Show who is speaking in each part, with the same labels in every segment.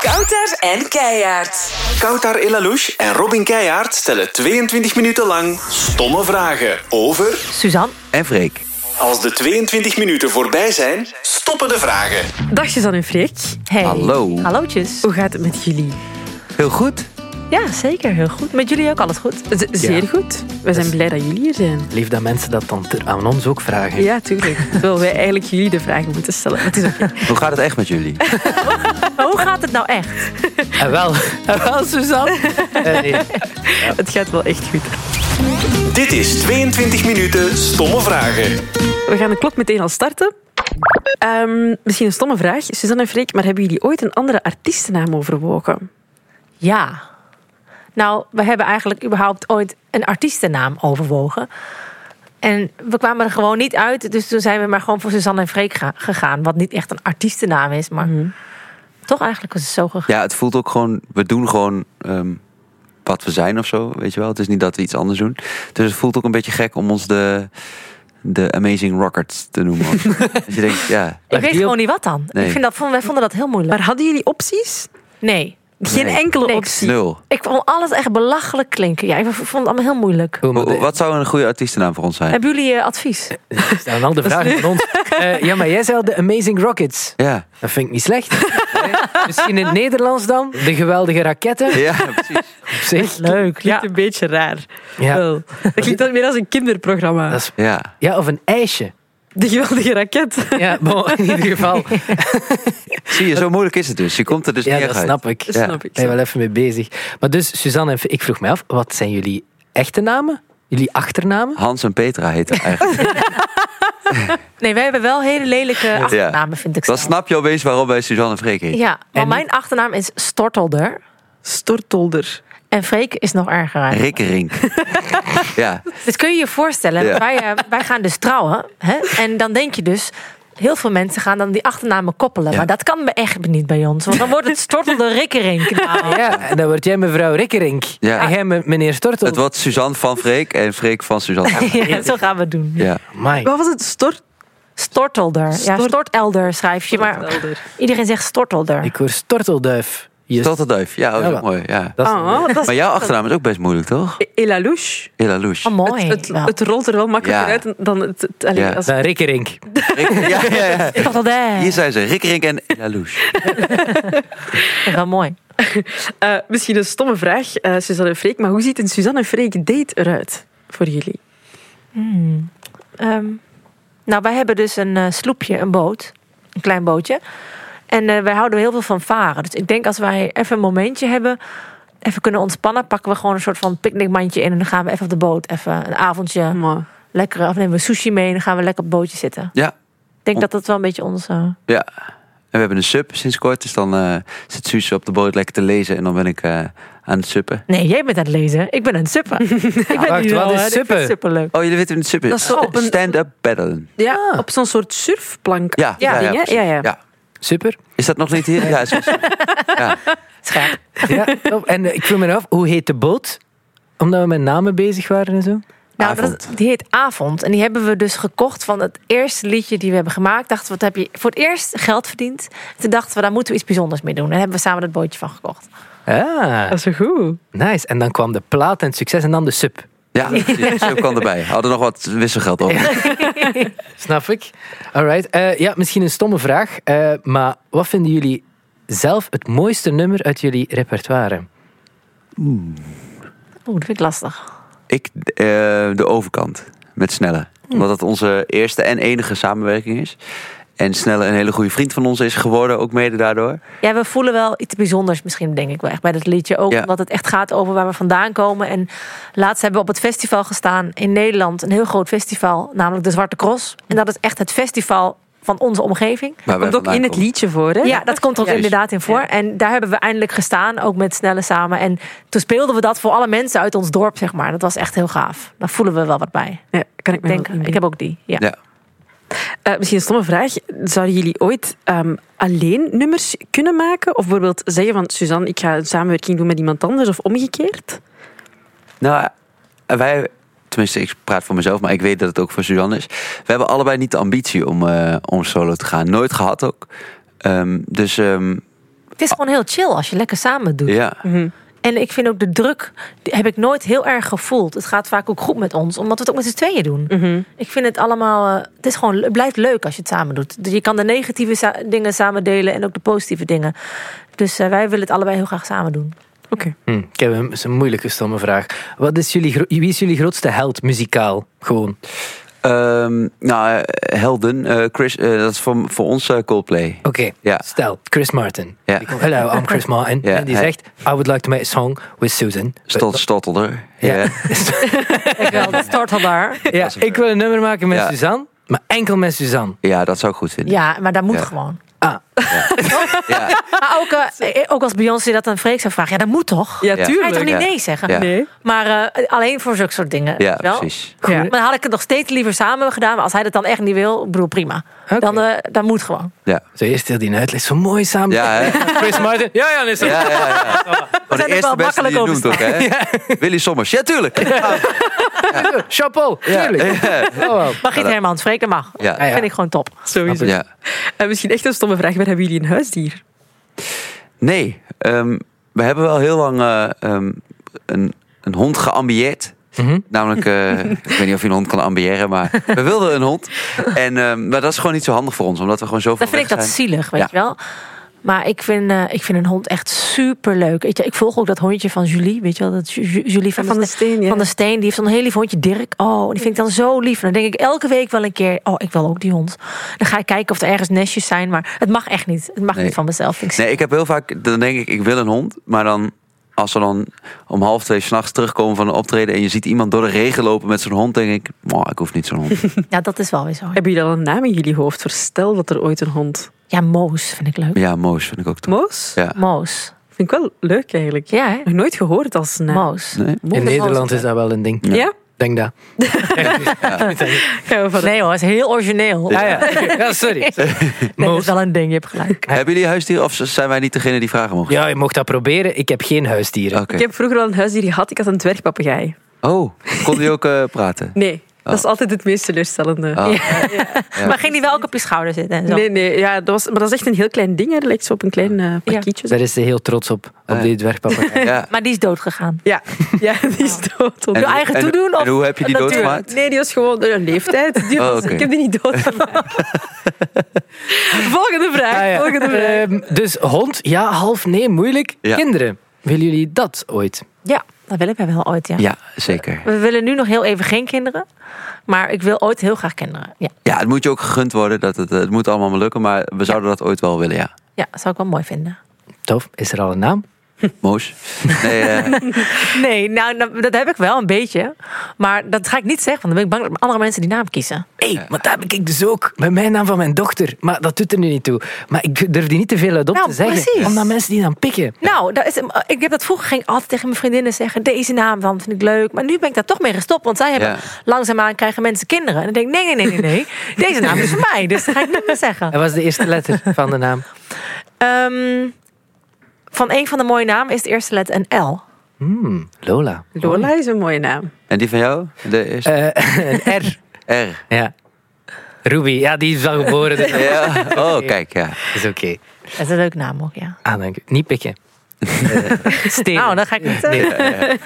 Speaker 1: Kouter en Keijaard.
Speaker 2: Koutar Elalouche en Robin Keijaard stellen 22 minuten lang stomme vragen over...
Speaker 3: Suzanne.
Speaker 4: En Freek.
Speaker 2: Als de 22 minuten voorbij zijn, stoppen de vragen.
Speaker 3: Dag Suzanne en Freek. Hey.
Speaker 4: Hallo.
Speaker 3: Hallootjes. Hoe gaat het met jullie?
Speaker 4: Heel goed.
Speaker 3: Ja, zeker. Heel goed. Met jullie ook alles goed? Z- zeer goed. We zijn blij dat jullie hier zijn.
Speaker 5: Lief dat mensen dat dan ter- aan ons ook vragen.
Speaker 3: Ja, tuurlijk. Terwijl wij eigenlijk jullie de vragen moeten stellen. Maar het is oké.
Speaker 4: Hoe gaat het echt met jullie?
Speaker 3: Maar hoe gaat het nou echt?
Speaker 5: En wel, en wel Suzanne. Eh, nee.
Speaker 3: Het gaat wel echt goed.
Speaker 2: Dit is 22 minuten stomme vragen.
Speaker 3: We gaan de klok meteen al starten. Ehm, misschien een stomme vraag, Suzanne en Freek, maar hebben jullie ooit een andere artiestennaam overwogen?
Speaker 6: Ja. Nou, we hebben eigenlijk überhaupt ooit een artiestennaam overwogen. En we kwamen er gewoon niet uit. Dus toen zijn we maar gewoon voor Suzanne en Freek ga- gegaan. Wat niet echt een artiestennaam is, maar toch eigenlijk was het zo gegaan.
Speaker 4: Ja, het voelt ook gewoon... We doen gewoon ehm, wat we zijn of zo, weet je wel. Het is niet dat we iets anders doen. Dus het voelt ook een beetje gek om ons de, de Amazing Rockets te noemen. dus je denkt, ja...
Speaker 6: Ik weet
Speaker 5: die
Speaker 6: gewoon
Speaker 5: op?
Speaker 6: niet wat dan.
Speaker 4: Nee.
Speaker 6: Ik vind dat, wij vonden dat heel moeilijk.
Speaker 3: Maar hadden jullie opties?
Speaker 6: Nee.
Speaker 3: Geen
Speaker 4: Nee.
Speaker 3: enkele
Speaker 6: Niks.
Speaker 3: optie.
Speaker 4: Nul.
Speaker 6: Ik vond alles echt belachelijk klinken. Ja, ik vond het allemaal heel moeilijk.
Speaker 5: Hoe moet-
Speaker 4: Hoe- Wat zou een goede artiestennaam voor ons zijn?
Speaker 6: Hebben jullie eh, advies?
Speaker 5: eh, Stel wel de vraag aan ons. Eh, ja, maar jij zei al de Amazing Rockets.
Speaker 4: Ja.
Speaker 5: Dat vind ik niet slecht. Nee, Misschien in het Nederlands dan. De geweldige raketten.
Speaker 4: Ja, precies.
Speaker 5: Op zich.
Speaker 3: Leuk, klinkt
Speaker 6: Ja.
Speaker 3: een beetje raar.
Speaker 5: Ja.
Speaker 3: Wel, dat klinkt dan meer als een kinderprogramma.
Speaker 5: Dat is-
Speaker 4: Ja.
Speaker 5: ja, of een ijsje.
Speaker 3: De geweldige raket.
Speaker 5: Ja, bon, in ieder geval.
Speaker 4: Zie je, zo moeilijk is het dus. Je komt er dus
Speaker 5: Ja,
Speaker 4: niet
Speaker 5: dat
Speaker 4: echt uit.
Speaker 5: snap ik.
Speaker 3: Dat
Speaker 5: Ja.
Speaker 3: snap ik.
Speaker 5: ben je wel even mee bezig. Maar dus, Suzanne en F- ik vroeg mij af, wat zijn jullie echte namen? Jullie achternamen?
Speaker 4: Hans en Petra heet het eigenlijk.
Speaker 6: Nee, wij hebben wel hele lelijke achternamen, vind ik
Speaker 4: Dan
Speaker 6: zelf.
Speaker 4: snap je opeens waarom wij Suzanne Freek heet.
Speaker 6: Ja, maar
Speaker 5: En-
Speaker 6: mijn achternaam is Stortelder.
Speaker 3: Stortolder.
Speaker 6: En Freek is nog erger. eigenlijk.
Speaker 4: Rikkerink. ja.
Speaker 6: Dus kun je je voorstellen,
Speaker 4: Ja.
Speaker 6: wij, eh, wij gaan dus trouwen. Hè? En dan denk je dus, heel veel mensen gaan dan die achternamen koppelen.
Speaker 4: Ja.
Speaker 6: Maar dat kan echt niet bij ons. Want dan wordt het stortelde rikkerink. Nou,
Speaker 5: Ja, en dan word jij mevrouw Rikkerink.
Speaker 4: Ja.
Speaker 5: En jij me- meneer Stortel.
Speaker 4: Het wordt Suzanne van Freek en Freek van Suzanne.
Speaker 6: ja, zo gaan we het doen.
Speaker 4: Ja.
Speaker 5: Amai.
Speaker 3: Wat was het? Stort?
Speaker 6: Stortelder. Ja,
Speaker 3: Stort-
Speaker 6: stortelder schrijf je. Maar iedereen zegt stortelder.
Speaker 5: Ik hoor Stortelduif. Je
Speaker 4: Tortelduif. Ja, oh, dat is ook
Speaker 5: Ja,
Speaker 4: mooi. Ja.
Speaker 5: Dat is-
Speaker 3: Oh, dat
Speaker 4: Maar
Speaker 3: is
Speaker 4: jouw achternaam is ook best moeilijk, toch?
Speaker 3: Elalouche.
Speaker 4: Elalouche.
Speaker 6: Oh, mooi.
Speaker 3: Het,
Speaker 6: wel.
Speaker 3: het rolt er wel makkelijker
Speaker 4: Ja.
Speaker 3: uit dan het... het alleen
Speaker 4: Ja.
Speaker 3: als,
Speaker 5: Dan Rikkerink.
Speaker 4: Rik- Ja, ja, ja.
Speaker 6: Stortelder.
Speaker 4: Hier zijn ze, Rikkerink en Elalouche.
Speaker 6: Wel mooi.
Speaker 3: Eh, misschien een stomme vraag, eh, Suzanne en Freek, maar hoe ziet een Suzanne en Freek date eruit voor jullie?
Speaker 6: Ehm, nou, wij hebben dus een eh, sloepje, een boot. Een klein bootje. En eh, wij houden heel veel van varen. Dus ik denk als wij even een momentje hebben... even kunnen ontspannen... pakken we gewoon een soort van picknickmandje in... en dan gaan we even op de boot. Even een avondje.
Speaker 5: Hm.
Speaker 3: Maar
Speaker 6: Lekker, of nemen we sushi mee... en dan gaan we lekker op het bootje zitten.
Speaker 4: Ja,
Speaker 6: Ik denk dat dat wel een beetje ons... eh,
Speaker 4: ja. En we hebben een sub sinds kort, dus dan eh, zit Suus op de boot lekker te lezen en dan ben ik eh, aan het suppen.
Speaker 6: Nee, jij bent aan het lezen. Ik ben aan het suppen. ik ben
Speaker 5: Wacht,
Speaker 6: hier
Speaker 5: wat
Speaker 6: wel,
Speaker 5: is
Speaker 6: hè. Ik vind
Speaker 5: suppen?
Speaker 6: suppen leuk.
Speaker 4: Oh, jullie weten wat het suppen
Speaker 3: Dat
Speaker 4: is?
Speaker 3: is zo op een-
Speaker 4: Stand-up paddelen.
Speaker 3: ja, op zo'n soort surfplank.
Speaker 4: Ja,
Speaker 3: Ja,
Speaker 4: ja, ja,
Speaker 3: dingen,
Speaker 4: precies.
Speaker 3: ja, ja.
Speaker 4: Ja.
Speaker 5: Super.
Speaker 4: Is dat nog niet hier? Ja, is
Speaker 6: Scherp.
Speaker 5: Ja, top. En eh, ik vroeg me af, hoe heet de boot? Omdat we met namen bezig waren en zo.
Speaker 6: Nou, dat,
Speaker 4: Avond.
Speaker 6: die heet Avond. En die hebben we dus gekocht van het eerste liedje die we hebben gemaakt. Dachten we, wat heb je voor het eerst geld verdiend? Toen dachten we, daar moeten we iets bijzonders mee doen. En daar hebben we samen dat bootje van gekocht.
Speaker 5: Ah,
Speaker 3: Dat is wel goed.
Speaker 5: nice. En dan kwam de plaat en het succes en dan de sub.
Speaker 4: ja, precies. Sub kan erbij. Hadden nog wat wisselgeld over.
Speaker 5: Snap ik. Alright. Eh, ja, misschien een stomme vraag. eh, maar wat vinden jullie zelf het mooiste nummer uit jullie repertoire?
Speaker 6: Oeh, dat vind ik lastig.
Speaker 4: Ik eh, de overkant met Snelle. Omdat dat onze eerste en enige samenwerking is. En Snelle een hele goede vriend van ons is geworden, ook mede daardoor.
Speaker 6: Ja, we voelen wel iets bijzonders misschien, denk ik wel echt bij dat liedje. Ook
Speaker 4: Ja.
Speaker 6: omdat het echt gaat over waar we vandaan komen. En laatst hebben we op het festival gestaan in Nederland. Een heel groot festival, namelijk de Zwarte Cross. En dat is echt het festival van onze omgeving.
Speaker 4: Waar wij
Speaker 3: Komt ook
Speaker 4: vandaan
Speaker 3: in het
Speaker 4: komen.
Speaker 3: liedje voor, hè?
Speaker 6: Ja, Oh, dat komt er ook
Speaker 4: Juist.
Speaker 6: inderdaad in voor. En daar hebben we eindelijk gestaan, ook met Snelle samen. En toen speelden we dat voor alle mensen uit ons dorp, zeg maar. Dat was echt heel gaaf. Daar voelen we wel wat bij.
Speaker 3: Ja, kan ik me
Speaker 6: Ik denk,
Speaker 3: wel inbeelden.
Speaker 6: ik heb ook die. Ja.
Speaker 4: Ja.
Speaker 3: Eh, misschien een stomme vraag. Zouden jullie ooit ehm, alleen nummers kunnen maken? Of bijvoorbeeld zeggen van Suzanne, ik ga een samenwerking doen met iemand anders of omgekeerd?
Speaker 4: Nou, wij, tenminste, ik praat voor mezelf, maar ik weet dat het ook voor Suzanne is. We hebben allebei niet de ambitie om, eh, om solo te gaan. Nooit gehad ook. Ehm, dus ehm,
Speaker 6: Het is gewoon heel chill als je lekker samen doet.
Speaker 4: Ja.
Speaker 6: En ik vind ook de druk, die heb ik nooit heel erg gevoeld. Het gaat vaak ook goed met ons, omdat we het ook met z'n tweeën doen. Ik vind het allemaal, eh, het, is gewoon, het blijft leuk als je het samen doet. Dus Je kan de negatieve sa- dingen samen delen en ook de positieve dingen. Dus eh, wij willen het allebei heel graag samen doen.
Speaker 3: Oké.
Speaker 5: Hm, ik heb een, is een moeilijke, stomme vraag. Wat is jullie, gro- wie is jullie grootste held muzikaal? Gewoon.
Speaker 4: Ehm, nou, eh, helden. eh, Chris, eh, dat is voor, voor ons eh, Coldplay.
Speaker 5: Oké,
Speaker 4: Ja.
Speaker 5: stel, Chris Martin.
Speaker 4: Ja.
Speaker 5: Die komt, Hello, I'm Chris Martin.
Speaker 4: Ja,
Speaker 5: en die
Speaker 4: hij-
Speaker 5: zegt, I would like to make a song with Susan.
Speaker 4: Stot, stottelder.
Speaker 5: Ja.
Speaker 4: Ja.
Speaker 6: Ik wel, dat start al daar.
Speaker 5: Ja, ik wil een nummer maken met
Speaker 4: Ja.
Speaker 5: Suzanne, maar enkel met Suzanne.
Speaker 4: ja, dat zou ik goed vinden.
Speaker 6: Ja, maar dat moet
Speaker 4: Ja.
Speaker 6: gewoon.
Speaker 5: Ah,
Speaker 4: Ja.
Speaker 6: Maar ook, eh, eh, ook als Beyoncé dat aan Freek zou vragen, ja, dat moet toch?
Speaker 3: Ja,
Speaker 4: Ja.
Speaker 6: Ga je
Speaker 3: tuurlijk.
Speaker 6: toch niet
Speaker 4: Ja.
Speaker 6: nee zeggen?
Speaker 4: Ja.
Speaker 3: Nee.
Speaker 6: Maar eh, alleen voor zulke soort dingen.
Speaker 4: Ja,
Speaker 6: weet je wel?
Speaker 4: precies.
Speaker 3: Ja.
Speaker 6: Maar dan had ik het nog steeds liever samen gedaan. Maar als hij dat dan echt niet wil, ik bedoel, prima.
Speaker 5: Oké.
Speaker 6: Dan, eh dat moet gewoon.
Speaker 4: Ja. Oh,
Speaker 5: zo eerst heel die uitleg, zo mooi samen.
Speaker 4: Ja, hè?
Speaker 5: Chris Martin, ja, ja, dan is dat.
Speaker 4: Ja, ja, ja. Gewoon de
Speaker 6: zijn er
Speaker 4: eerste
Speaker 6: wel
Speaker 4: beste die je
Speaker 6: makkelijk
Speaker 4: noemt ook, hè? Willy Sommers. Ja, tuurlijk. Ja.
Speaker 5: Chapeau, tuurlijk. Oh, wow.
Speaker 6: Maar Giet Hermans, Freek, dat mag.
Speaker 4: Ja.
Speaker 6: Dat vind ik gewoon top.
Speaker 3: Sowieso.
Speaker 4: Ja.
Speaker 3: En Eh, misschien echt een stomme vraag, maar hebben jullie een huisdier?
Speaker 4: Nee, ehm, we hebben wel heel lang eh, ehm, een, een hond geambieerd.
Speaker 5: Mhm.
Speaker 4: Namelijk, eh, ik weet niet of je een hond kan ambiëren, maar we wilden een hond. En, ehm, maar dat is gewoon niet zo handig voor ons, omdat we gewoon zoveel
Speaker 6: Dan vind ik
Speaker 4: weg
Speaker 6: dat
Speaker 4: zijn.
Speaker 6: zielig, weet
Speaker 4: Ja.
Speaker 6: je wel. Maar ik vind, eh, ik vind een hond echt superleuk. Weet je, ik volg ook dat hondje van Julie, weet je wel. Dat Ju- Ju- Julie van,
Speaker 3: Ja, van de Steen, ja.
Speaker 6: Van de Steen, die heeft zo'n heel lief hondje, Dirk. Oh, die vind ik dan zo lief. En dan denk ik elke week wel een keer, oh, ik wil ook die hond. Dan ga ik kijken of er ergens nestjes zijn, maar het mag echt niet. Het mag
Speaker 4: Nee.
Speaker 6: niet van mezelf. Vind ik
Speaker 4: Nee, ik heb heel vaak, dan denk ik, ik wil een hond. Maar dan, als we dan om half twee s'nachts terugkomen van een optreden... en je ziet iemand door de regen lopen met zo'n hond... denk ik, "Mwah, ik hoef niet zo'n hond.
Speaker 6: Ja, dat is wel weer zo.
Speaker 3: Hebben jullie al een naam in jullie hoofd? Voor stel dat er ooit een hond...
Speaker 6: Ja, Moos vind ik leuk.
Speaker 4: Ja, Moos vind ik ook toch.
Speaker 3: Moos?
Speaker 4: Ja.
Speaker 6: Moos.
Speaker 3: Vind ik wel leuk eigenlijk.
Speaker 6: Ja, hè?
Speaker 3: Nog nooit gehoord als naam.
Speaker 6: Moos.
Speaker 4: Nee?
Speaker 5: In Nederland is dat wel een ding.
Speaker 3: Ja?
Speaker 5: Denk dat.
Speaker 3: Gaan we van...
Speaker 6: Nee hoor, het is heel origineel.
Speaker 5: Ah, ja. ja, sorry.
Speaker 6: Nee, dat
Speaker 5: Moos.
Speaker 6: is wel een ding, je hebt gelijk.
Speaker 4: Hebben jullie huisdieren of zijn wij niet degene die vragen mogen?
Speaker 5: Ja, je mocht dat proberen. Ik heb geen huisdieren.
Speaker 4: Oké.
Speaker 3: Ik heb vroeger wel een huisdier gehad. Ik had een dwergpapegaai.
Speaker 4: Oh, kon die ook eh, praten?
Speaker 3: Nee, dat
Speaker 4: Ah.
Speaker 3: is altijd het meest teleurstellende.
Speaker 4: Oh.
Speaker 6: Maar ging die wel ook op je schouder zitten? En zo?
Speaker 3: Nee, nee, ja, dat was, maar dat is echt een heel klein ding. Hè. Dat lijkt zo op een klein eh pakietje.
Speaker 5: Daar is ze heel trots op, op
Speaker 4: Ah, ja.
Speaker 5: die dwergpapa.
Speaker 4: Ja.
Speaker 6: Maar die is doodgegaan.
Speaker 3: Ja, ja die is dood.
Speaker 4: En-
Speaker 6: Door eigen
Speaker 4: en-
Speaker 6: toedoen?
Speaker 4: en
Speaker 6: of
Speaker 4: hoe heb je die
Speaker 6: natuurlijk?
Speaker 4: doodgemaakt?
Speaker 3: Nee, die was gewoon door een leeftijd. Die
Speaker 4: Oh,
Speaker 3: was-
Speaker 4: oké.
Speaker 3: Ik heb die niet doodgemaakt. volgende vraag,
Speaker 5: Ah, ja.
Speaker 3: volgende vraag.
Speaker 5: Ehm, dus hond, ja, half nee, moeilijk.
Speaker 4: Ja.
Speaker 5: Kinderen, willen jullie dat ooit?
Speaker 6: Ja, dat willen wij wel ooit, ja.
Speaker 4: Ja, zeker.
Speaker 6: We willen nu nog heel even geen kinderen. Maar ik wil ooit heel graag kinderen. Ja,
Speaker 4: Ja, het moet je ook gegund worden. Dat het, het moet allemaal maar lukken, maar we zouden dat ooit wel willen, ja.
Speaker 6: ja dat zou ik wel mooi vinden.
Speaker 5: Tof, is er al een naam?
Speaker 4: Moos. Nee, eh,
Speaker 6: Nee, nou, nou, dat heb ik wel een beetje. Maar dat ga ik niet zeggen, want dan ben ik bang dat andere mensen die naam kiezen.
Speaker 5: Hé, hey, want dat heb ik dus ook. Met mijn naam van mijn dochter. Maar dat doet er nu niet toe. Maar ik durf die niet te veel uit op
Speaker 6: Nou,
Speaker 5: te zeggen.
Speaker 6: precies.
Speaker 5: Omdat mensen die dan pikken.
Speaker 6: Nou, dat is, ik heb dat vroeger ging ik altijd tegen mijn vriendinnen zeggen. Deze naam van vind ik leuk. Maar nu ben ik daar toch mee gestopt. Want zij hebben
Speaker 4: Ja.
Speaker 6: langzaamaan krijgen mensen kinderen. En dan denk ik, nee, nee, nee, nee, nee. Deze naam is voor mij. Dus dat ga ik niet meer zeggen.
Speaker 5: Dat was de eerste letter van de naam.
Speaker 6: Ehm, van een van de mooie namen is de eerste letter een L.
Speaker 5: Hmm, Lola.
Speaker 3: Lola is een mooie naam.
Speaker 4: en die van jou? De eerste?
Speaker 5: Eh, een R.
Speaker 4: R.
Speaker 5: Ja. Ruby, ja, die is al geboren. dus dat
Speaker 4: Ja. Oh, kijk, ja.
Speaker 5: is oké.
Speaker 6: Dat is een leuke naam ook, ja.
Speaker 5: Ah, dank u. Niet pikken. Stenen.
Speaker 6: Nou, dat ga ik niet zeggen.
Speaker 5: Nee.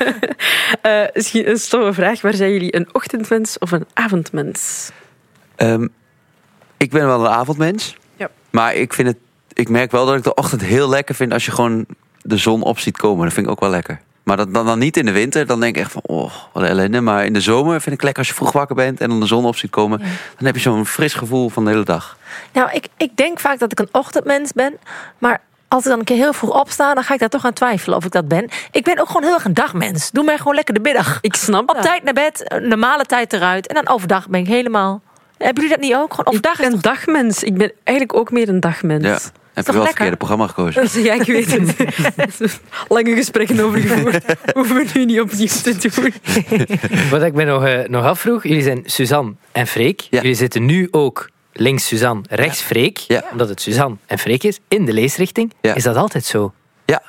Speaker 3: Eh, misschien een stomme vraag. Waar zijn jullie een ochtendmens of een avondmens?
Speaker 4: Ehm, ik ben wel een avondmens.
Speaker 3: Ja.
Speaker 4: Maar ik, vind het, ik merk wel dat ik de ochtend heel lekker vind als je gewoon de zon op ziet komen. Dat vind ik ook wel lekker. Maar dat, dan, dan niet in de winter. Dan denk ik echt van, oh, wat een ellende. Maar in de zomer vind ik lekker als je vroeg wakker bent en dan de zon op ziet komen. Dan heb je zo'n fris gevoel van de hele dag.
Speaker 6: Nou, ik, ik denk vaak dat ik een ochtendmens ben. Maar als ik dan een keer heel vroeg opsta, dan ga ik daar toch aan twijfelen of ik dat ben. Ik ben ook gewoon heel erg een dagmens. Doe mij gewoon lekker de middag.
Speaker 3: Ik snap
Speaker 6: Op
Speaker 3: dat.
Speaker 6: tijd naar bed, eh, normale tijd eruit. En dan overdag ben ik helemaal. Hebben jullie dat niet ook? Gewoon overdag
Speaker 3: Ik
Speaker 6: is
Speaker 3: ben
Speaker 6: toch-
Speaker 3: dagmens. Ik ben eigenlijk ook meer een dagmens.
Speaker 4: Ja. Heb je wel het verkeerde
Speaker 6: lekker?
Speaker 4: programma gekozen.
Speaker 3: Ja, ik weet het. Lange gesprekken over gevoerd. Hoeven we nu niet opnieuw te doen.
Speaker 5: Wat ik me nog, eh, nog afvroeg, jullie zijn Suzanne en Freek.
Speaker 4: Ja.
Speaker 5: Jullie zitten nu ook links Suzanne, rechts Freek.
Speaker 4: Ja.
Speaker 5: Omdat het Suzanne en Freek is, in de leesrichting.
Speaker 4: Ja.
Speaker 5: Is dat altijd zo?
Speaker 4: Ja,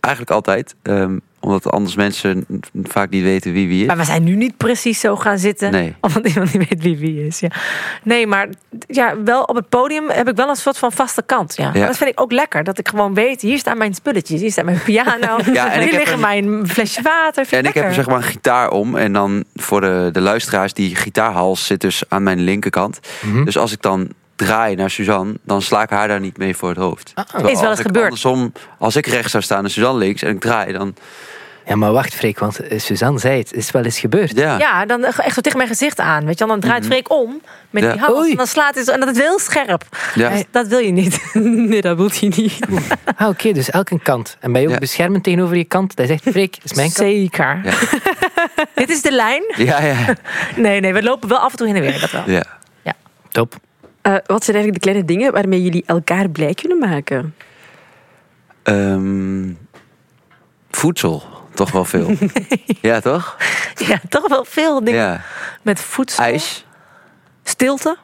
Speaker 4: eigenlijk altijd. Ehm, Omdat anders mensen vaak niet weten wie wie is.
Speaker 6: Maar we zijn nu niet precies zo gaan zitten.
Speaker 4: Nee.
Speaker 6: Omdat iemand niet weet wie wie is. Ja. Nee, maar ja, wel op het podium heb ik wel een soort van vaste kant. Ja.
Speaker 4: Ja.
Speaker 6: Dat vind ik ook lekker. Dat ik gewoon weet, hier staan mijn spulletjes. Hier staat mijn piano.
Speaker 4: Ja, en ik
Speaker 6: hier
Speaker 4: heb
Speaker 6: liggen mijn flesje water. Vind
Speaker 4: En ik heb er
Speaker 6: lekker.
Speaker 4: zeg maar een gitaar om. En dan voor de, de luisteraars, die gitaarhals zit dus aan mijn linkerkant. Dus als ik dan draai naar Suzanne, dan sla ik haar daar niet mee voor het hoofd. Terwijl
Speaker 6: Is wel
Speaker 4: als "Oh,
Speaker 6: eens
Speaker 4: ik
Speaker 6: gebeurd.
Speaker 4: Andersom, als ik rechts zou staan en Suzanne links en ik draai, dan...
Speaker 5: Ja, maar wacht, Freek, want eh, Suzanne zei het, is wel eens gebeurd.
Speaker 4: Ja, Mhm.
Speaker 6: Ja, dan echt zo tegen mijn gezicht aan. Weet je, wel. dan draait Freek om met
Speaker 4: Ja.
Speaker 6: die hals.
Speaker 5: Oei.
Speaker 6: En dan slaat hij zo. En dat is heel scherp.
Speaker 4: Ja.
Speaker 6: Dus dat wil je niet.
Speaker 3: Nee, dat wil je niet.
Speaker 5: Ah, oké, dus elk een kant. En ben je ook
Speaker 4: Ja.
Speaker 5: beschermend tegenover je kant? Dat zegt Freek, dat is mijn kant.
Speaker 6: Zeker. Dit is de lijn.
Speaker 4: ja, ja.
Speaker 6: Nee, nee, we lopen wel af en toe heen en weer. Dat wel.
Speaker 4: ja.
Speaker 5: Top.
Speaker 3: Eh, wat zijn eigenlijk de kleine dingen waarmee jullie elkaar blij kunnen maken?
Speaker 4: Ehm, voedsel, toch wel veel. ja, toch?
Speaker 6: Ja, toch wel veel dingen
Speaker 4: Ja.
Speaker 6: met voedsel.
Speaker 4: IJs.
Speaker 6: Stilte.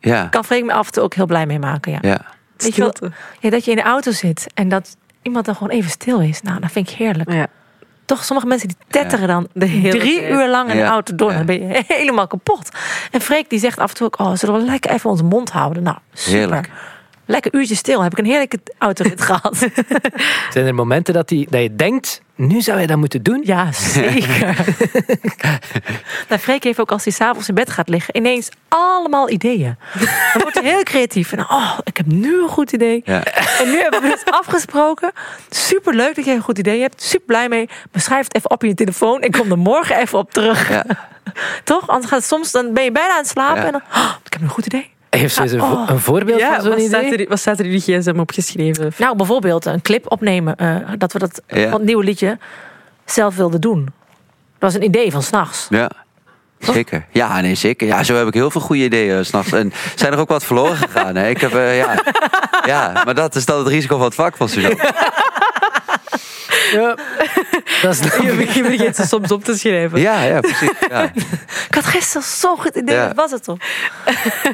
Speaker 4: Ja.
Speaker 6: Kan Freek me af en toe ook heel blij mee maken. Ja.
Speaker 4: ja.
Speaker 6: Weet je wel-
Speaker 3: Stilte.
Speaker 6: Ja, dat je in de auto zit en dat iemand dan gewoon even stil is. Nou, dat vind ik heerlijk.
Speaker 3: Ah Ja.
Speaker 6: Toch, sommige mensen die tetteren dan
Speaker 3: hele
Speaker 6: drie
Speaker 3: tijd.
Speaker 6: uur lang in de
Speaker 4: Ja,
Speaker 6: auto door.
Speaker 4: ja.
Speaker 6: Dan ben je helemaal kapot. En Freek die zegt af en toe ook, oh, zullen we lekker even ons mond houden? Nou, super.
Speaker 4: Heerlijk.
Speaker 6: Lekker uurtje stil. Heb ik een heerlijke autorit gehad.
Speaker 5: Zijn er momenten dat, die, dat je denkt, nu zou je dat moeten doen?
Speaker 6: Ja, zeker. nou, Freek heeft ook als hij s'avonds in bed gaat liggen... ineens allemaal ideeën. Dan wordt hij heel creatief. En, oh, ik heb nu een goed idee.
Speaker 4: Ja.
Speaker 6: En nu hebben we het afgesproken. Super leuk dat jij een goed idee hebt. Super blij mee. Maar schrijf het even op in je telefoon. Ik kom er morgen even op terug.
Speaker 4: Ja.
Speaker 6: Toch? Anders gaat het soms, dan ben je bijna aan het slapen.
Speaker 4: Ja.
Speaker 6: En dan, oh, ik heb nu een goed idee.
Speaker 5: Heeft ze een, vo-
Speaker 6: Oh.
Speaker 5: een voorbeeld
Speaker 3: Ja,
Speaker 5: van zo'n
Speaker 3: wat, staat
Speaker 5: idee?
Speaker 3: er, wat staat er in je gsm opgeschreven?
Speaker 6: Nou, bijvoorbeeld een clip opnemen. eh, dat we dat
Speaker 4: Ja.
Speaker 6: van het nieuwe liedje zelf wilden doen. Dat was een idee van s'nachts.
Speaker 4: Ja. Zeker. Ja, nee, zeker. Ja, zo heb ik heel veel goede ideeën eh, s'nachts. En zijn er ook wat verloren gegaan. Hè? Ik heb, eh, ja. ja, maar dat is dan het risico van het vak van Suzanne.
Speaker 5: Ja. Dat is
Speaker 3: Je je vergeet ze soms op te schrijven.
Speaker 4: Ja, ja, precies. Ja.
Speaker 6: Ik had gisteren zo'n goed idee.
Speaker 4: Ja.
Speaker 6: Wat was het toch?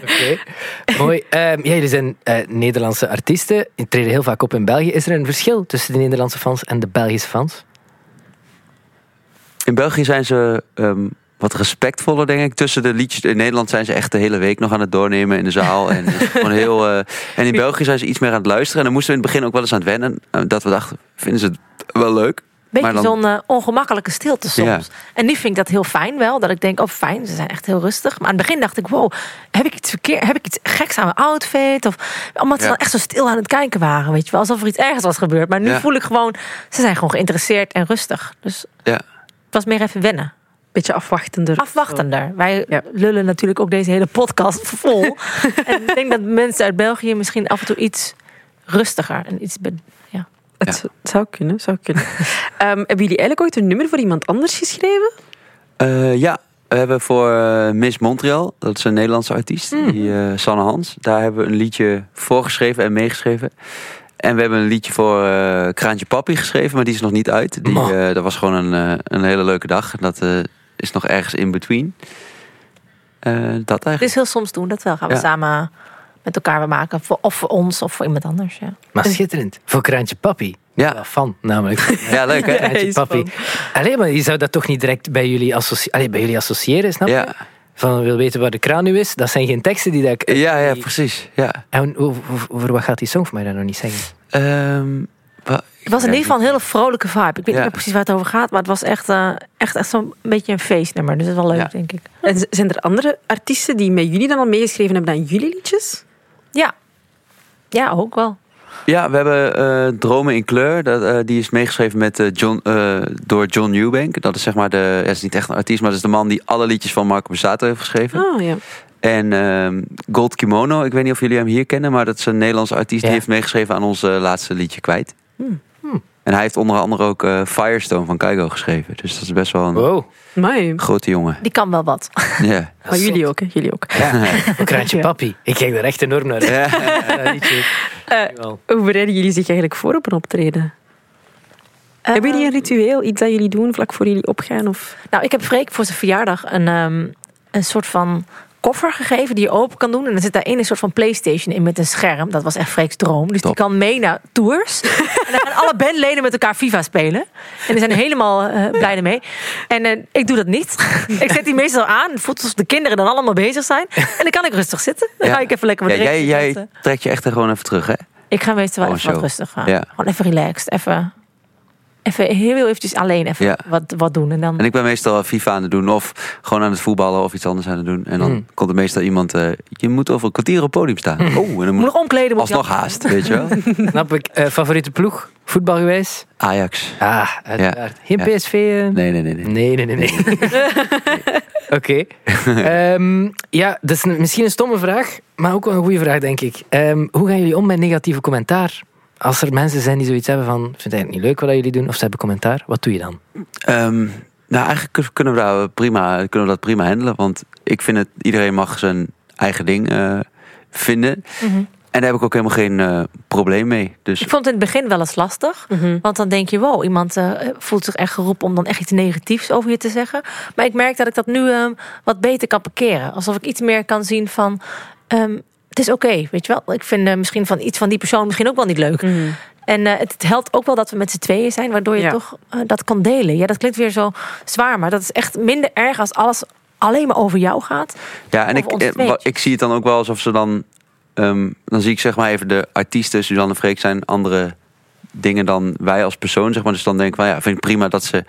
Speaker 5: Oké. Mooi. Ehm, ja, jullie zijn eh, Nederlandse artiesten. Je treden heel vaak op in België. Is er een verschil tussen de Nederlandse fans en de Belgische fans?
Speaker 4: In België zijn ze ehm, wat respectvoller, denk ik. Tussen de liedjes. In Nederland zijn ze echt de hele week nog aan het doornemen in de zaal. En, gewoon heel, eh, en in België zijn ze iets meer aan het luisteren. En dan moesten we in het begin ook wel eens aan het wennen. eh, Dat we dachten, vinden ze het wel leuk?
Speaker 6: Beetje
Speaker 4: dan-
Speaker 6: zo'n eh, ongemakkelijke stilte soms.
Speaker 4: Ja.
Speaker 6: En nu vind ik dat heel fijn wel. Dat ik denk, oh fijn, ze zijn echt heel rustig. Maar aan het begin dacht ik, wow, heb ik iets verkeerd? Heb ik iets geks aan mijn outfit? Of, omdat ze
Speaker 4: Ja.
Speaker 6: dan echt zo stil aan het kijken waren. Weet je wel, alsof er iets ergs was gebeurd. Maar nu
Speaker 4: Ja.
Speaker 6: voel ik gewoon, ze zijn gewoon geïnteresseerd en rustig. Dus
Speaker 4: Ja.
Speaker 6: het was meer even wennen.
Speaker 3: Beetje afwachtender.
Speaker 6: Afwachtender. Wij
Speaker 3: Ja.
Speaker 6: lullen natuurlijk ook deze hele podcast vol. en ik denk dat mensen uit België misschien af en toe iets rustiger en iets... be- Ja.
Speaker 3: Het zou kunnen, zou kunnen. Ehm, hebben jullie eigenlijk ooit een nummer voor iemand anders geschreven?
Speaker 4: Eh, ja, we hebben voor eh, Miss Montreal, dat is een Nederlandse artiest,
Speaker 6: Hmm.
Speaker 4: die, eh, Sanne Hans. Daar hebben we een liedje voor geschreven en meegeschreven. En we hebben een liedje voor eh, Kraantje Papi geschreven, maar die is nog niet uit. Die,
Speaker 5: Mo.
Speaker 4: eh, dat was gewoon een, eh, een hele leuke dag. En Dat eh, is nog ergens in between. Eh, dat eigenlijk.
Speaker 6: Dus heel soms doen we dat wel. Gaan we
Speaker 4: Ja.
Speaker 6: samen met elkaar wat maken. Voor, of voor ons of voor iemand anders. Ja.
Speaker 5: Maar schitterend. Voor Kraantje Papi.
Speaker 4: Ja.
Speaker 5: Wel fan, namelijk.
Speaker 6: Dus-
Speaker 4: Ja, leuk hè?
Speaker 5: Kraantje
Speaker 3: is
Speaker 5: Papi. Allee, maar je zou dat toch niet direct bij jullie, associ- Allee, bij jullie associëren, snap je?
Speaker 4: Ja.
Speaker 5: Van, wil weten waar de kraan nu is? Dat zijn geen teksten die dat ik...
Speaker 4: Ja, ja, precies. Ja.
Speaker 5: En hoe- hoe- over wat gaat die song voor mij dan nog niet zeggen?
Speaker 4: Ehm, wa-
Speaker 6: Het was in ieder geval een hele vrolijke vibe. Ik weet niet
Speaker 4: Ja.
Speaker 6: meer precies waar het over gaat. Maar het was echt, eh, echt, echt zo'n beetje een feestnummer. Dus dat is wel leuk,
Speaker 4: Ja.
Speaker 6: denk ik.
Speaker 3: En z- zijn er andere artiesten die met jullie dan al meegeschreven hebben aan jullie liedjes?
Speaker 6: Ja. Ja, ook wel.
Speaker 4: Ja, we hebben eh, Dromen in Kleur. Dat, eh, die is meegeschreven met, eh, John, eh, door John Newbank. Dat is zeg maar de. ja, dat is niet echt een artiest, maar dat is de man die alle liedjes van Marco Borsato heeft geschreven.
Speaker 3: Oh ja.
Speaker 4: En ehm, Gold Kimono, ik weet niet of jullie hem hier kennen, maar dat is een Nederlandse artiest.
Speaker 5: Ja.
Speaker 4: Die heeft meegeschreven aan ons eh, laatste liedje kwijt.
Speaker 6: Hmm.
Speaker 4: En hij heeft onder andere ook eh, Firestone van Keigo geschreven. Dus dat is best wel een
Speaker 5: Wow.
Speaker 3: Amai.
Speaker 4: grote jongen.
Speaker 6: Die kan wel wat.
Speaker 4: Ja.
Speaker 3: Maar jullie ook, hè? Jullie ook.
Speaker 5: Voor Kraantje
Speaker 3: Ja.
Speaker 5: Papi. Ik kijk er echt enorm naar uit. Dat liedje.
Speaker 3: Eh,
Speaker 5: Jawel.
Speaker 3: Hoe bereiden jullie zich eigenlijk voor op een optreden? hebben jullie een ritueel, iets dat jullie doen vlak voor jullie opgaan? Of...
Speaker 6: Nou, ik heb Freek voor zijn verjaardag een, ehm, een soort van koffer gegeven die je open kan doen. En er zit daarin een soort van Playstation in met een scherm. Dat was echt Freek's droom. Dus
Speaker 4: Top.
Speaker 6: die kan mee naar tours. en dan gaan alle bandleden met elkaar FIFA spelen. En die zijn helemaal eh, blij ermee. En eh, ik doe dat niet. ik zet die meestal aan. Het voelt alsof de kinderen dan allemaal bezig zijn. En dan kan ik rustig zitten. Dan
Speaker 4: Ja.
Speaker 6: ga ik even lekker wat
Speaker 4: Ja, jij,
Speaker 6: drinken.
Speaker 4: jij trekt je echt er gewoon even terug, hè?
Speaker 6: Ik ga meestal wel
Speaker 4: Gewoon
Speaker 6: even wat
Speaker 4: zo.
Speaker 6: rustig gaan.
Speaker 4: Ja.
Speaker 6: Gewoon even relaxed. Even, even heel eventjes alleen even
Speaker 4: Ja.
Speaker 6: wat, wat doen. En dan
Speaker 4: En ik ben meestal FIFA aan het doen of gewoon aan het voetballen of iets anders aan het doen. En dan
Speaker 5: Hmm.
Speaker 4: komt er meestal iemand, eh, je moet over een kwartier op het podium staan. Oh, en dan
Speaker 6: Hmm. moet
Speaker 4: moet
Speaker 6: nog omkleden. Moet ik
Speaker 4: alsnog haast,
Speaker 6: jassen.
Speaker 4: weet je wel.
Speaker 5: Snap ik. Eh, favoriete ploeg, voetbalgewijs?
Speaker 4: Ajax.
Speaker 5: Ah, uiteraard. Geen
Speaker 4: Ja.
Speaker 5: PSV? eh?
Speaker 4: Nee, nee, nee. nee.
Speaker 5: Nee, nee, nee. nee. Oké. Ehm, ja, dat is een- misschien een stomme vraag, maar ook wel een goede vraag, denk ik. Ehm, hoe gaan jullie om met negatieve commentaar? Als er mensen zijn die zoiets hebben van, ik vind het eigenlijk niet leuk wat jullie doen, of ze hebben commentaar, wat doe je dan?
Speaker 4: Ehm, nou, eigenlijk kun- kunnen we, daar prima, kunnen we dat prima handelen. Want ik vind het, iedereen mag zijn eigen ding eh, vinden.
Speaker 6: Mhm.
Speaker 4: En daar heb ik ook helemaal geen eh, probleem mee. Dus
Speaker 6: Ik vond het in het begin wel eens lastig. Want dan denk je, wow, iemand eh, voelt zich echt geroepen om dan echt iets negatiefs over je te zeggen. Maar ik merk dat ik dat nu ehm, wat beter kan parkeren. Alsof ik iets meer kan zien van, ehm, het is oké, weet je wel. Ik vind eh, misschien van iets van die persoon misschien ook wel niet leuk. En eh, het, het helpt ook wel dat we met z'n tweeën zijn, waardoor je
Speaker 3: Ja.
Speaker 6: toch eh, dat kan delen. Ja, dat klinkt weer zo zwaar, maar dat is echt minder erg als alles alleen maar over jou gaat.
Speaker 4: Ja, en
Speaker 6: Of
Speaker 4: ik,
Speaker 6: ons
Speaker 4: eh, wa-
Speaker 6: tweetjes.
Speaker 4: ik zie het dan ook wel alsof ze dan... ehm, dan zie ik zeg maar even de artiesten, Suzanne en Freek, zijn andere dingen dan wij als persoon. Zeg maar. Dus dan denk ik van ja, vind ik prima dat ze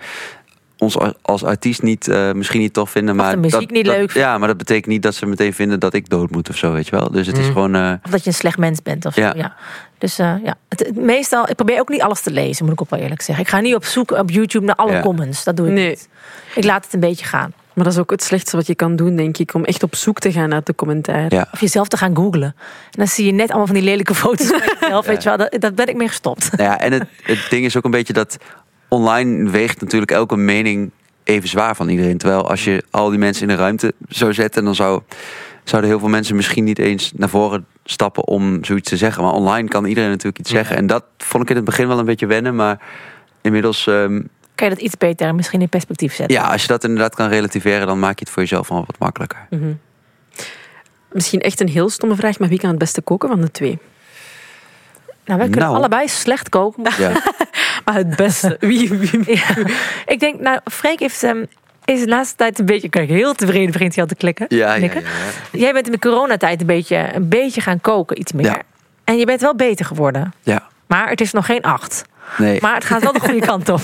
Speaker 4: ons a- als artiest niet, eh, misschien niet tof vinden.
Speaker 6: Of
Speaker 4: Maar
Speaker 6: de muziek
Speaker 4: dat,
Speaker 6: niet
Speaker 4: dat-
Speaker 6: leuk
Speaker 4: Ja, maar dat betekent niet dat ze meteen vinden dat ik dood moet of zo, weet je wel. Dus het is
Speaker 5: Mm.
Speaker 4: gewoon... eh,
Speaker 6: Of dat je een slecht mens bent of zo. Ja.
Speaker 4: Ja.
Speaker 6: Dus eh, ja, het, het- meestal, ik probeer ook niet alles te lezen, moet ik ook wel eerlijk zeggen. Ik ga niet op zoek op YouTube naar alle
Speaker 4: Ja.
Speaker 6: comments. Dat doe ik
Speaker 3: Nee.
Speaker 6: niet. Ik laat het een beetje gaan.
Speaker 3: Maar dat is ook het slechtste wat je kan doen, denk ik. Om echt op zoek te gaan naar de commentaar.
Speaker 4: ja.
Speaker 6: Of jezelf te gaan googlen. En dan zie je net allemaal van die lelijke foto's van jezelf. Weet je wel, dat, dat ben ik mee gestopt.
Speaker 4: Nou ja, en het, het ding is ook een beetje dat online weegt natuurlijk elke mening even zwaar van iedereen. Terwijl als je al die mensen in de ruimte zou zetten, dan zou, zouden heel veel mensen misschien niet eens naar voren stappen om zoiets te zeggen. Maar online kan iedereen natuurlijk iets zeggen. En dat vond ik in het begin wel een beetje wennen, maar inmiddels, ehm,
Speaker 6: Kan je dat iets beter misschien in perspectief zetten?
Speaker 4: ja, als je dat inderdaad kan relativeren, dan maak je het voor jezelf wel wat makkelijker.
Speaker 3: Misschien echt een heel stomme vraag, maar wie kan het beste koken van de twee?
Speaker 6: Nou, wij kunnen
Speaker 4: Nou.
Speaker 6: allebei slecht koken. maar-
Speaker 4: Ja.
Speaker 3: Maar het beste. Wie, wie-
Speaker 6: Ja. Ik denk, nou, Freek heeft... ehm, is de laatste tijd een beetje... Kijk, heel tevreden begint hij al te klikken.
Speaker 4: Ja, ja, ja,
Speaker 6: knikken.
Speaker 4: ja.
Speaker 6: Jij bent in de coronatijd een beetje, een beetje gaan koken, iets meer.
Speaker 4: Ja.
Speaker 6: En je bent wel beter geworden.
Speaker 4: Ja.
Speaker 6: Maar het is nog geen acht.
Speaker 4: Nee,
Speaker 6: Maar het gaat wel de goede kant op.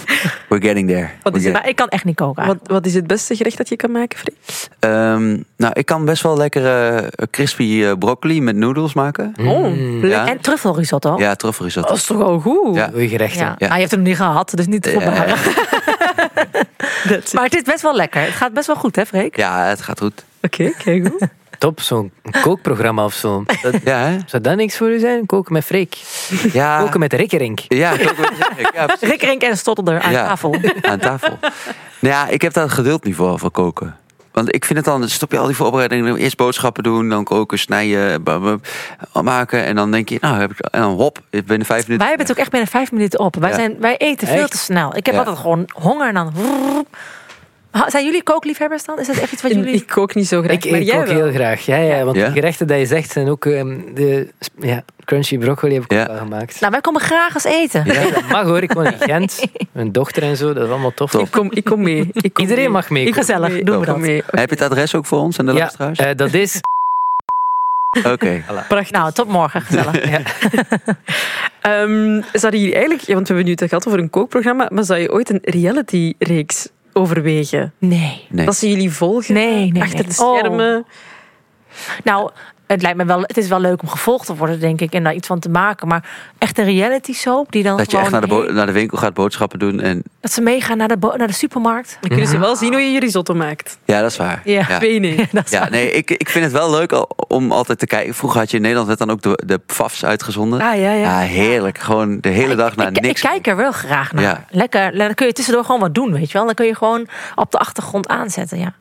Speaker 4: we're getting there. We're getting-
Speaker 6: Maar ik kan echt niet koken.
Speaker 3: Wat,
Speaker 6: eigenlijk.
Speaker 3: wat is het beste gerecht dat je kan maken, Freek?
Speaker 4: Ehm, nou, ik kan best wel lekker eh, crispy eh, broccoli met noedels maken.
Speaker 3: Oh, leuk.
Speaker 4: Ja.
Speaker 6: En truffelrisotto.
Speaker 4: Ja, truffelrisotto.
Speaker 3: Dat is toch al goed?
Speaker 4: Ja.
Speaker 5: Goeie gerechten.
Speaker 6: Ja.
Speaker 4: Ja.
Speaker 6: Ah, je hebt hem niet gehad, dus niet te voorbereiden.
Speaker 4: Ja,
Speaker 3: Dat-
Speaker 6: Maar het is best wel lekker. Het gaat best wel goed, hè, Freek?
Speaker 4: ja, het gaat goed.
Speaker 3: Oké, kijk goed.
Speaker 5: Top, zo'n kookprogramma of zo. Dat-
Speaker 4: Ja, hè?
Speaker 5: zou dat niks voor u zijn? Koken met Freek.
Speaker 4: Ja,
Speaker 5: Koken met Rikkerink.
Speaker 4: ja, koken met Erik. ja, precies.
Speaker 6: Rick Rink en Stodder aan
Speaker 4: Ja.
Speaker 6: tafel.
Speaker 4: aan tafel. Nou ja, ik heb daar geduld niet voor, voor koken. Want ik vind het dan, stop je al die voorbereidingen, eerst boodschappen doen, dan koken, snijden, bam, bam, maken. En dan denk je, nou heb ik, en dan hop, binnen vijf minuten.
Speaker 6: Wij hebben het ook echt binnen vijf minuten op. Wij,
Speaker 4: Ja.
Speaker 6: zijn, wij eten veel
Speaker 5: Echt?
Speaker 6: te snel. Ik heb
Speaker 4: Ja.
Speaker 6: altijd gewoon honger en dan... Ha, Zijn jullie kookliefhebbers dan? Is dat echt iets wat jullie...
Speaker 3: Ik kook niet zo graag,
Speaker 5: Ik,
Speaker 3: maar
Speaker 5: ik
Speaker 3: jij
Speaker 5: ook
Speaker 3: wel.
Speaker 5: heel graag. Ja, ja, want
Speaker 4: Ja?
Speaker 5: de gerechten die je zegt zijn ook ehm, de sp- ja, crunchy broccoli heb ik
Speaker 4: Ja.
Speaker 5: ook wel gemaakt.
Speaker 6: Nou, wij komen graag eens eten.
Speaker 5: Ja, dat mag hoor. Ik woon in Gent. Mijn dochter en zo, dat is allemaal tof.
Speaker 3: Ik kom, ik kom mee. Ik kom
Speaker 5: Iedereen
Speaker 3: mee.
Speaker 5: mag mee.
Speaker 3: Ik kom
Speaker 6: Gezellig,
Speaker 3: mee.
Speaker 6: doen
Speaker 3: Ik
Speaker 6: we
Speaker 3: kom
Speaker 6: dat.
Speaker 3: mee.
Speaker 4: Heb je het adres ook voor ons en de
Speaker 5: ja,
Speaker 4: luisteraars?
Speaker 5: eh, dat is...
Speaker 4: Oké.
Speaker 3: Prachtig.
Speaker 6: Nou, tot morgen. Gezellig.
Speaker 5: Ja.
Speaker 3: Ehm, zouden jullie eigenlijk, ja, want we hebben nu het gehad over een kookprogramma, maar zou je ooit een reality-reeks overwegen?
Speaker 6: Nee.
Speaker 4: Nee.
Speaker 3: Dat ze jullie volgen
Speaker 6: Nee, nee, nee.
Speaker 3: achter de schermen.
Speaker 6: Nou, het lijkt me wel... Het is wel leuk om gevolgd te worden, denk ik. En daar iets van te maken. Maar echt een reality soap die dan
Speaker 4: Dat je
Speaker 6: gewoon
Speaker 4: echt naar de, bo-
Speaker 6: heel-
Speaker 4: naar de winkel gaat boodschappen doen. En,
Speaker 6: Dat ze meegaan naar de, bo- naar de supermarkt.
Speaker 3: Dan kunnen ze
Speaker 4: Mhm.
Speaker 3: wel zien hoe je je risotto maakt.
Speaker 4: ja, dat is waar.
Speaker 3: Ja,
Speaker 4: Ja.
Speaker 3: weet je niet.
Speaker 4: Ja, nee, ik, ik vind het wel leuk al- om altijd te kijken. Vroeger had je in Nederland werd dan ook de, de PFAFs uitgezonden.
Speaker 3: Ah, ja, ja.
Speaker 4: heerlijk. Gewoon de hele dag naar
Speaker 6: ik,
Speaker 4: niks.
Speaker 6: ik kijk er wel graag naar.
Speaker 4: Ja.
Speaker 6: Lekker. Dan kun je tussendoor gewoon wat doen, weet je wel. Dan kun je gewoon op de achtergrond aanzetten, ja.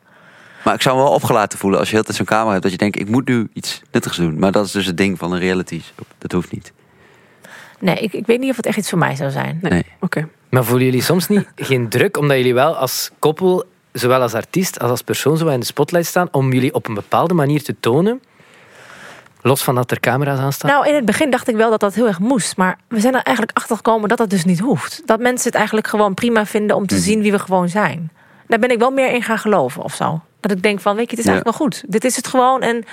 Speaker 4: Maar ik zou me wel opgelaten voelen als je heel tijd zo'n camera hebt. Dat je denkt, ik moet nu iets nuttigs doen. Maar dat is dus het ding van een reality. show. Dat hoeft niet.
Speaker 6: Nee, ik, ik weet niet of het echt iets voor mij zou zijn.
Speaker 3: Nee.
Speaker 4: Nee.
Speaker 3: Oké.
Speaker 5: Maar voelen jullie soms niet geen druk, omdat jullie wel als koppel zowel als artiest als als persoon, zo wat in de spotlight staan om jullie op een bepaalde manier te tonen? Los van dat er camera's aan staan.
Speaker 6: Nou, in het begin dacht ik wel dat dat heel erg moest. Maar we zijn er eigenlijk achter gekomen dat dat dus niet hoeft. Dat mensen het eigenlijk gewoon prima vinden om te zien wie we gewoon zijn. Daar ben ik wel meer in gaan geloven of zo. Dat ik denk van, weet je, het is
Speaker 4: Ja.
Speaker 6: eigenlijk wel goed. Dit is het gewoon en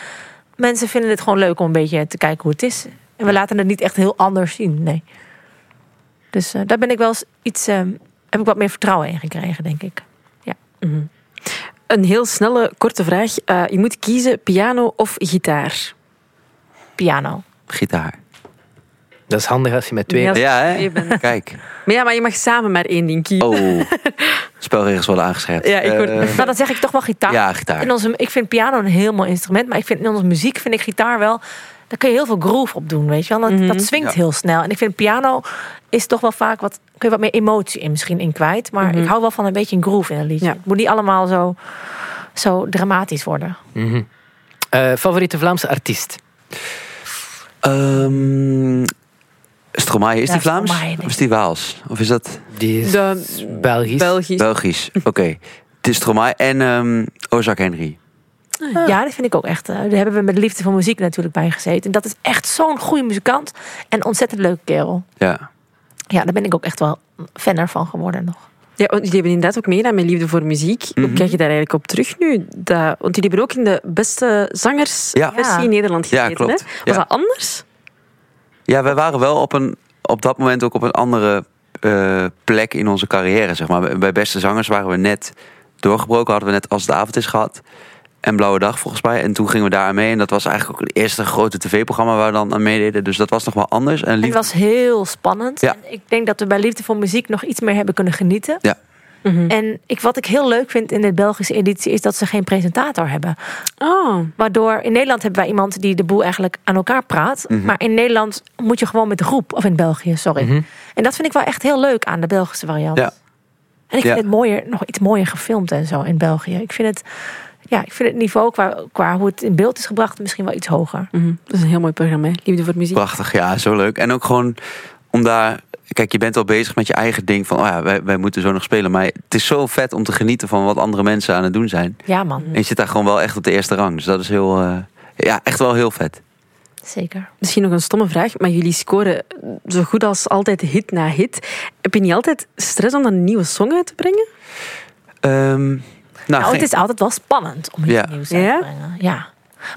Speaker 6: mensen vinden het gewoon leuk om een beetje te kijken hoe het is. En we laten het niet echt heel anders zien, nee. Dus eh, daar ben ik wel eens iets... eh, heb ik wat meer vertrouwen in gekregen, denk ik.
Speaker 3: Een heel snelle, korte vraag. Eh, je moet kiezen piano of gitaar.
Speaker 6: Piano.
Speaker 4: Gitaar.
Speaker 5: Dat is handig als je met twee...
Speaker 3: Ja. Als
Speaker 4: Ja, hè?
Speaker 3: je bent.
Speaker 4: Kijk.
Speaker 3: Maar ja, maar je mag samen maar één ding kiezen.
Speaker 4: Oh, spelregels worden aangescherpt.
Speaker 3: Ja, ik hoor-
Speaker 4: Eh,
Speaker 6: Maar dan zeg ik toch wel gitaar.
Speaker 4: ja, gitaar.
Speaker 6: In onze, ik vind piano een heel mooi instrument, maar ik vind in onze muziek vind ik gitaar wel. Daar kun je heel veel groove op doen, weet je wel. Dat, dat swingt
Speaker 4: Ja.
Speaker 6: heel snel. En ik vind piano is toch wel vaak wat. Kun je wat meer emotie in misschien in kwijt. Maar ik hou wel van een beetje een groove in een liedje.
Speaker 3: Ja.
Speaker 6: Het moet niet allemaal zo, zo dramatisch worden.
Speaker 5: Eh, favoriete Vlaamse artiest?
Speaker 4: Ehm, Stromae, is
Speaker 6: Ja,
Speaker 4: die Vlaams?
Speaker 6: Stromae, denk ik.
Speaker 4: Of is die Waals? Of is dat
Speaker 5: Die is
Speaker 3: De-
Speaker 5: Belgisch.
Speaker 3: Belgisch.
Speaker 4: Belgisch? Oké. Het is Stromae en ehm Ozak Henry.
Speaker 6: Ja, dat vind ik ook echt. eh, daar hebben we met liefde voor muziek natuurlijk bij gezeten. En dat is echt zo'n goede muzikant. En ontzettend leuke kerel.
Speaker 4: Ja.
Speaker 6: Ja, daar ben ik ook echt wel fan ervan geworden nog.
Speaker 3: Ja, want jullie hebben inderdaad ook meegedaan met Liefde voor Muziek.
Speaker 4: Mhm.
Speaker 3: Hoe kijk je daar eigenlijk op terug nu? Dat, want jullie hebben ook in de beste
Speaker 4: Ja.
Speaker 3: zangersversie in Nederland
Speaker 4: Ja,
Speaker 3: gezeten.
Speaker 4: klopt.
Speaker 3: Hè?
Speaker 4: Ja.
Speaker 3: Was dat anders?
Speaker 4: Ja, wij waren wel op, een, op dat moment ook op een andere eh, plek in onze carrière. Zeg maar. Bij Beste Zangers waren we net doorgebroken. Hadden we net Als de Avond is gehad. En Blauwe Dag volgens mij. En toen gingen we daar aan mee. En dat was eigenlijk ook het eerste grote tv-programma waar we dan aan meededen. Dus dat was nog wel anders. En lief...
Speaker 6: Het was heel spannend.
Speaker 4: Ja.
Speaker 6: En ik denk dat we bij Liefde voor Muziek nog iets meer hebben kunnen genieten.
Speaker 4: Ja.
Speaker 3: Mhm.
Speaker 6: En ik, wat ik heel leuk vind in de Belgische editie is dat ze geen presentator hebben.
Speaker 3: Oh,
Speaker 6: Waardoor in Nederland hebben wij iemand die de boel eigenlijk aan elkaar praat.
Speaker 4: Mhm.
Speaker 6: Maar in Nederland moet je gewoon met de groep, of in België, sorry. En dat vind ik wel echt heel leuk aan de Belgische variant.
Speaker 4: Ja.
Speaker 6: En ik
Speaker 4: Ja.
Speaker 6: vind het mooier, nog iets mooier gefilmd en zo in België. Ik vind het, ja, ik vind het niveau qua, qua hoe het in beeld is gebracht misschien wel iets hoger.
Speaker 3: mhm. dat is een heel mooi programma, hè? Liefde voor Muziek.
Speaker 4: Prachtig, ja, zo leuk. En ook gewoon om daar. Kijk, je bent al bezig met je eigen ding van, oh ja, wij, wij moeten zo nog spelen. Maar het is zo vet om te genieten van wat andere mensen aan het doen zijn.
Speaker 6: Ja man,
Speaker 4: En je zit daar gewoon wel echt op de eerste rang. Dus dat is heel, eh, ja, echt wel heel vet.
Speaker 6: zeker.
Speaker 3: Misschien nog een stomme vraag, maar jullie scoren zo goed als altijd hit na hit. Heb je niet altijd stress om dan een nieuwe song uit te brengen?
Speaker 4: Ehm, nou,
Speaker 6: Nou,
Speaker 4: geen-
Speaker 6: het is altijd wel spannend om iets
Speaker 4: Ja.
Speaker 6: nieuws uit
Speaker 3: Ja?
Speaker 6: te brengen. Ja.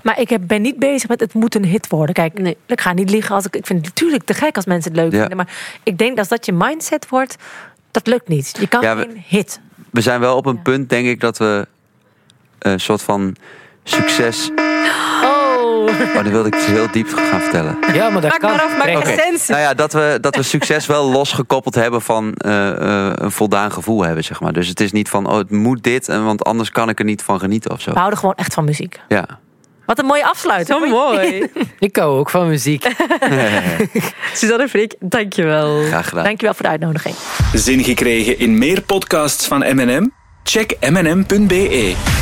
Speaker 6: Maar ik heb- ben niet bezig met het moet een hit worden. Kijk,
Speaker 3: Nee.
Speaker 6: ik ga niet liegen. Als ik, ik vind het natuurlijk te gek als mensen het leuk
Speaker 4: Ja.
Speaker 6: vinden. Maar ik denk dat als dat je mindset wordt, dat lukt niet. Je kan
Speaker 4: Ja, we-
Speaker 6: geen hit.
Speaker 4: we zijn wel op een punt, denk ik, dat we een soort van succes.
Speaker 3: Oh,
Speaker 4: Oh, dan wilde ik iets heel diep gaan vertellen.
Speaker 5: Ja, maar dat
Speaker 3: maak
Speaker 5: kan.
Speaker 3: maar af, maak
Speaker 5: Trek.
Speaker 3: essentie.
Speaker 4: Nou ja, dat we, dat we succes wel losgekoppeld hebben van eh, eh, een voldaan gevoel hebben, zeg maar. Dus het is niet van, oh, het moet dit, en want anders kan ik er niet van genieten of zo.
Speaker 6: We houden gewoon echt van muziek.
Speaker 4: Ja.
Speaker 6: Wat een mooie afsluiting.
Speaker 3: Zo mooi.
Speaker 5: Ik hou ook van muziek.
Speaker 3: Suzanne Freek, dankjewel.
Speaker 4: Graag gedaan.
Speaker 6: Dankjewel voor de uitnodiging.
Speaker 2: Zin gekregen in meer podcasts van M&M? Check mm.be.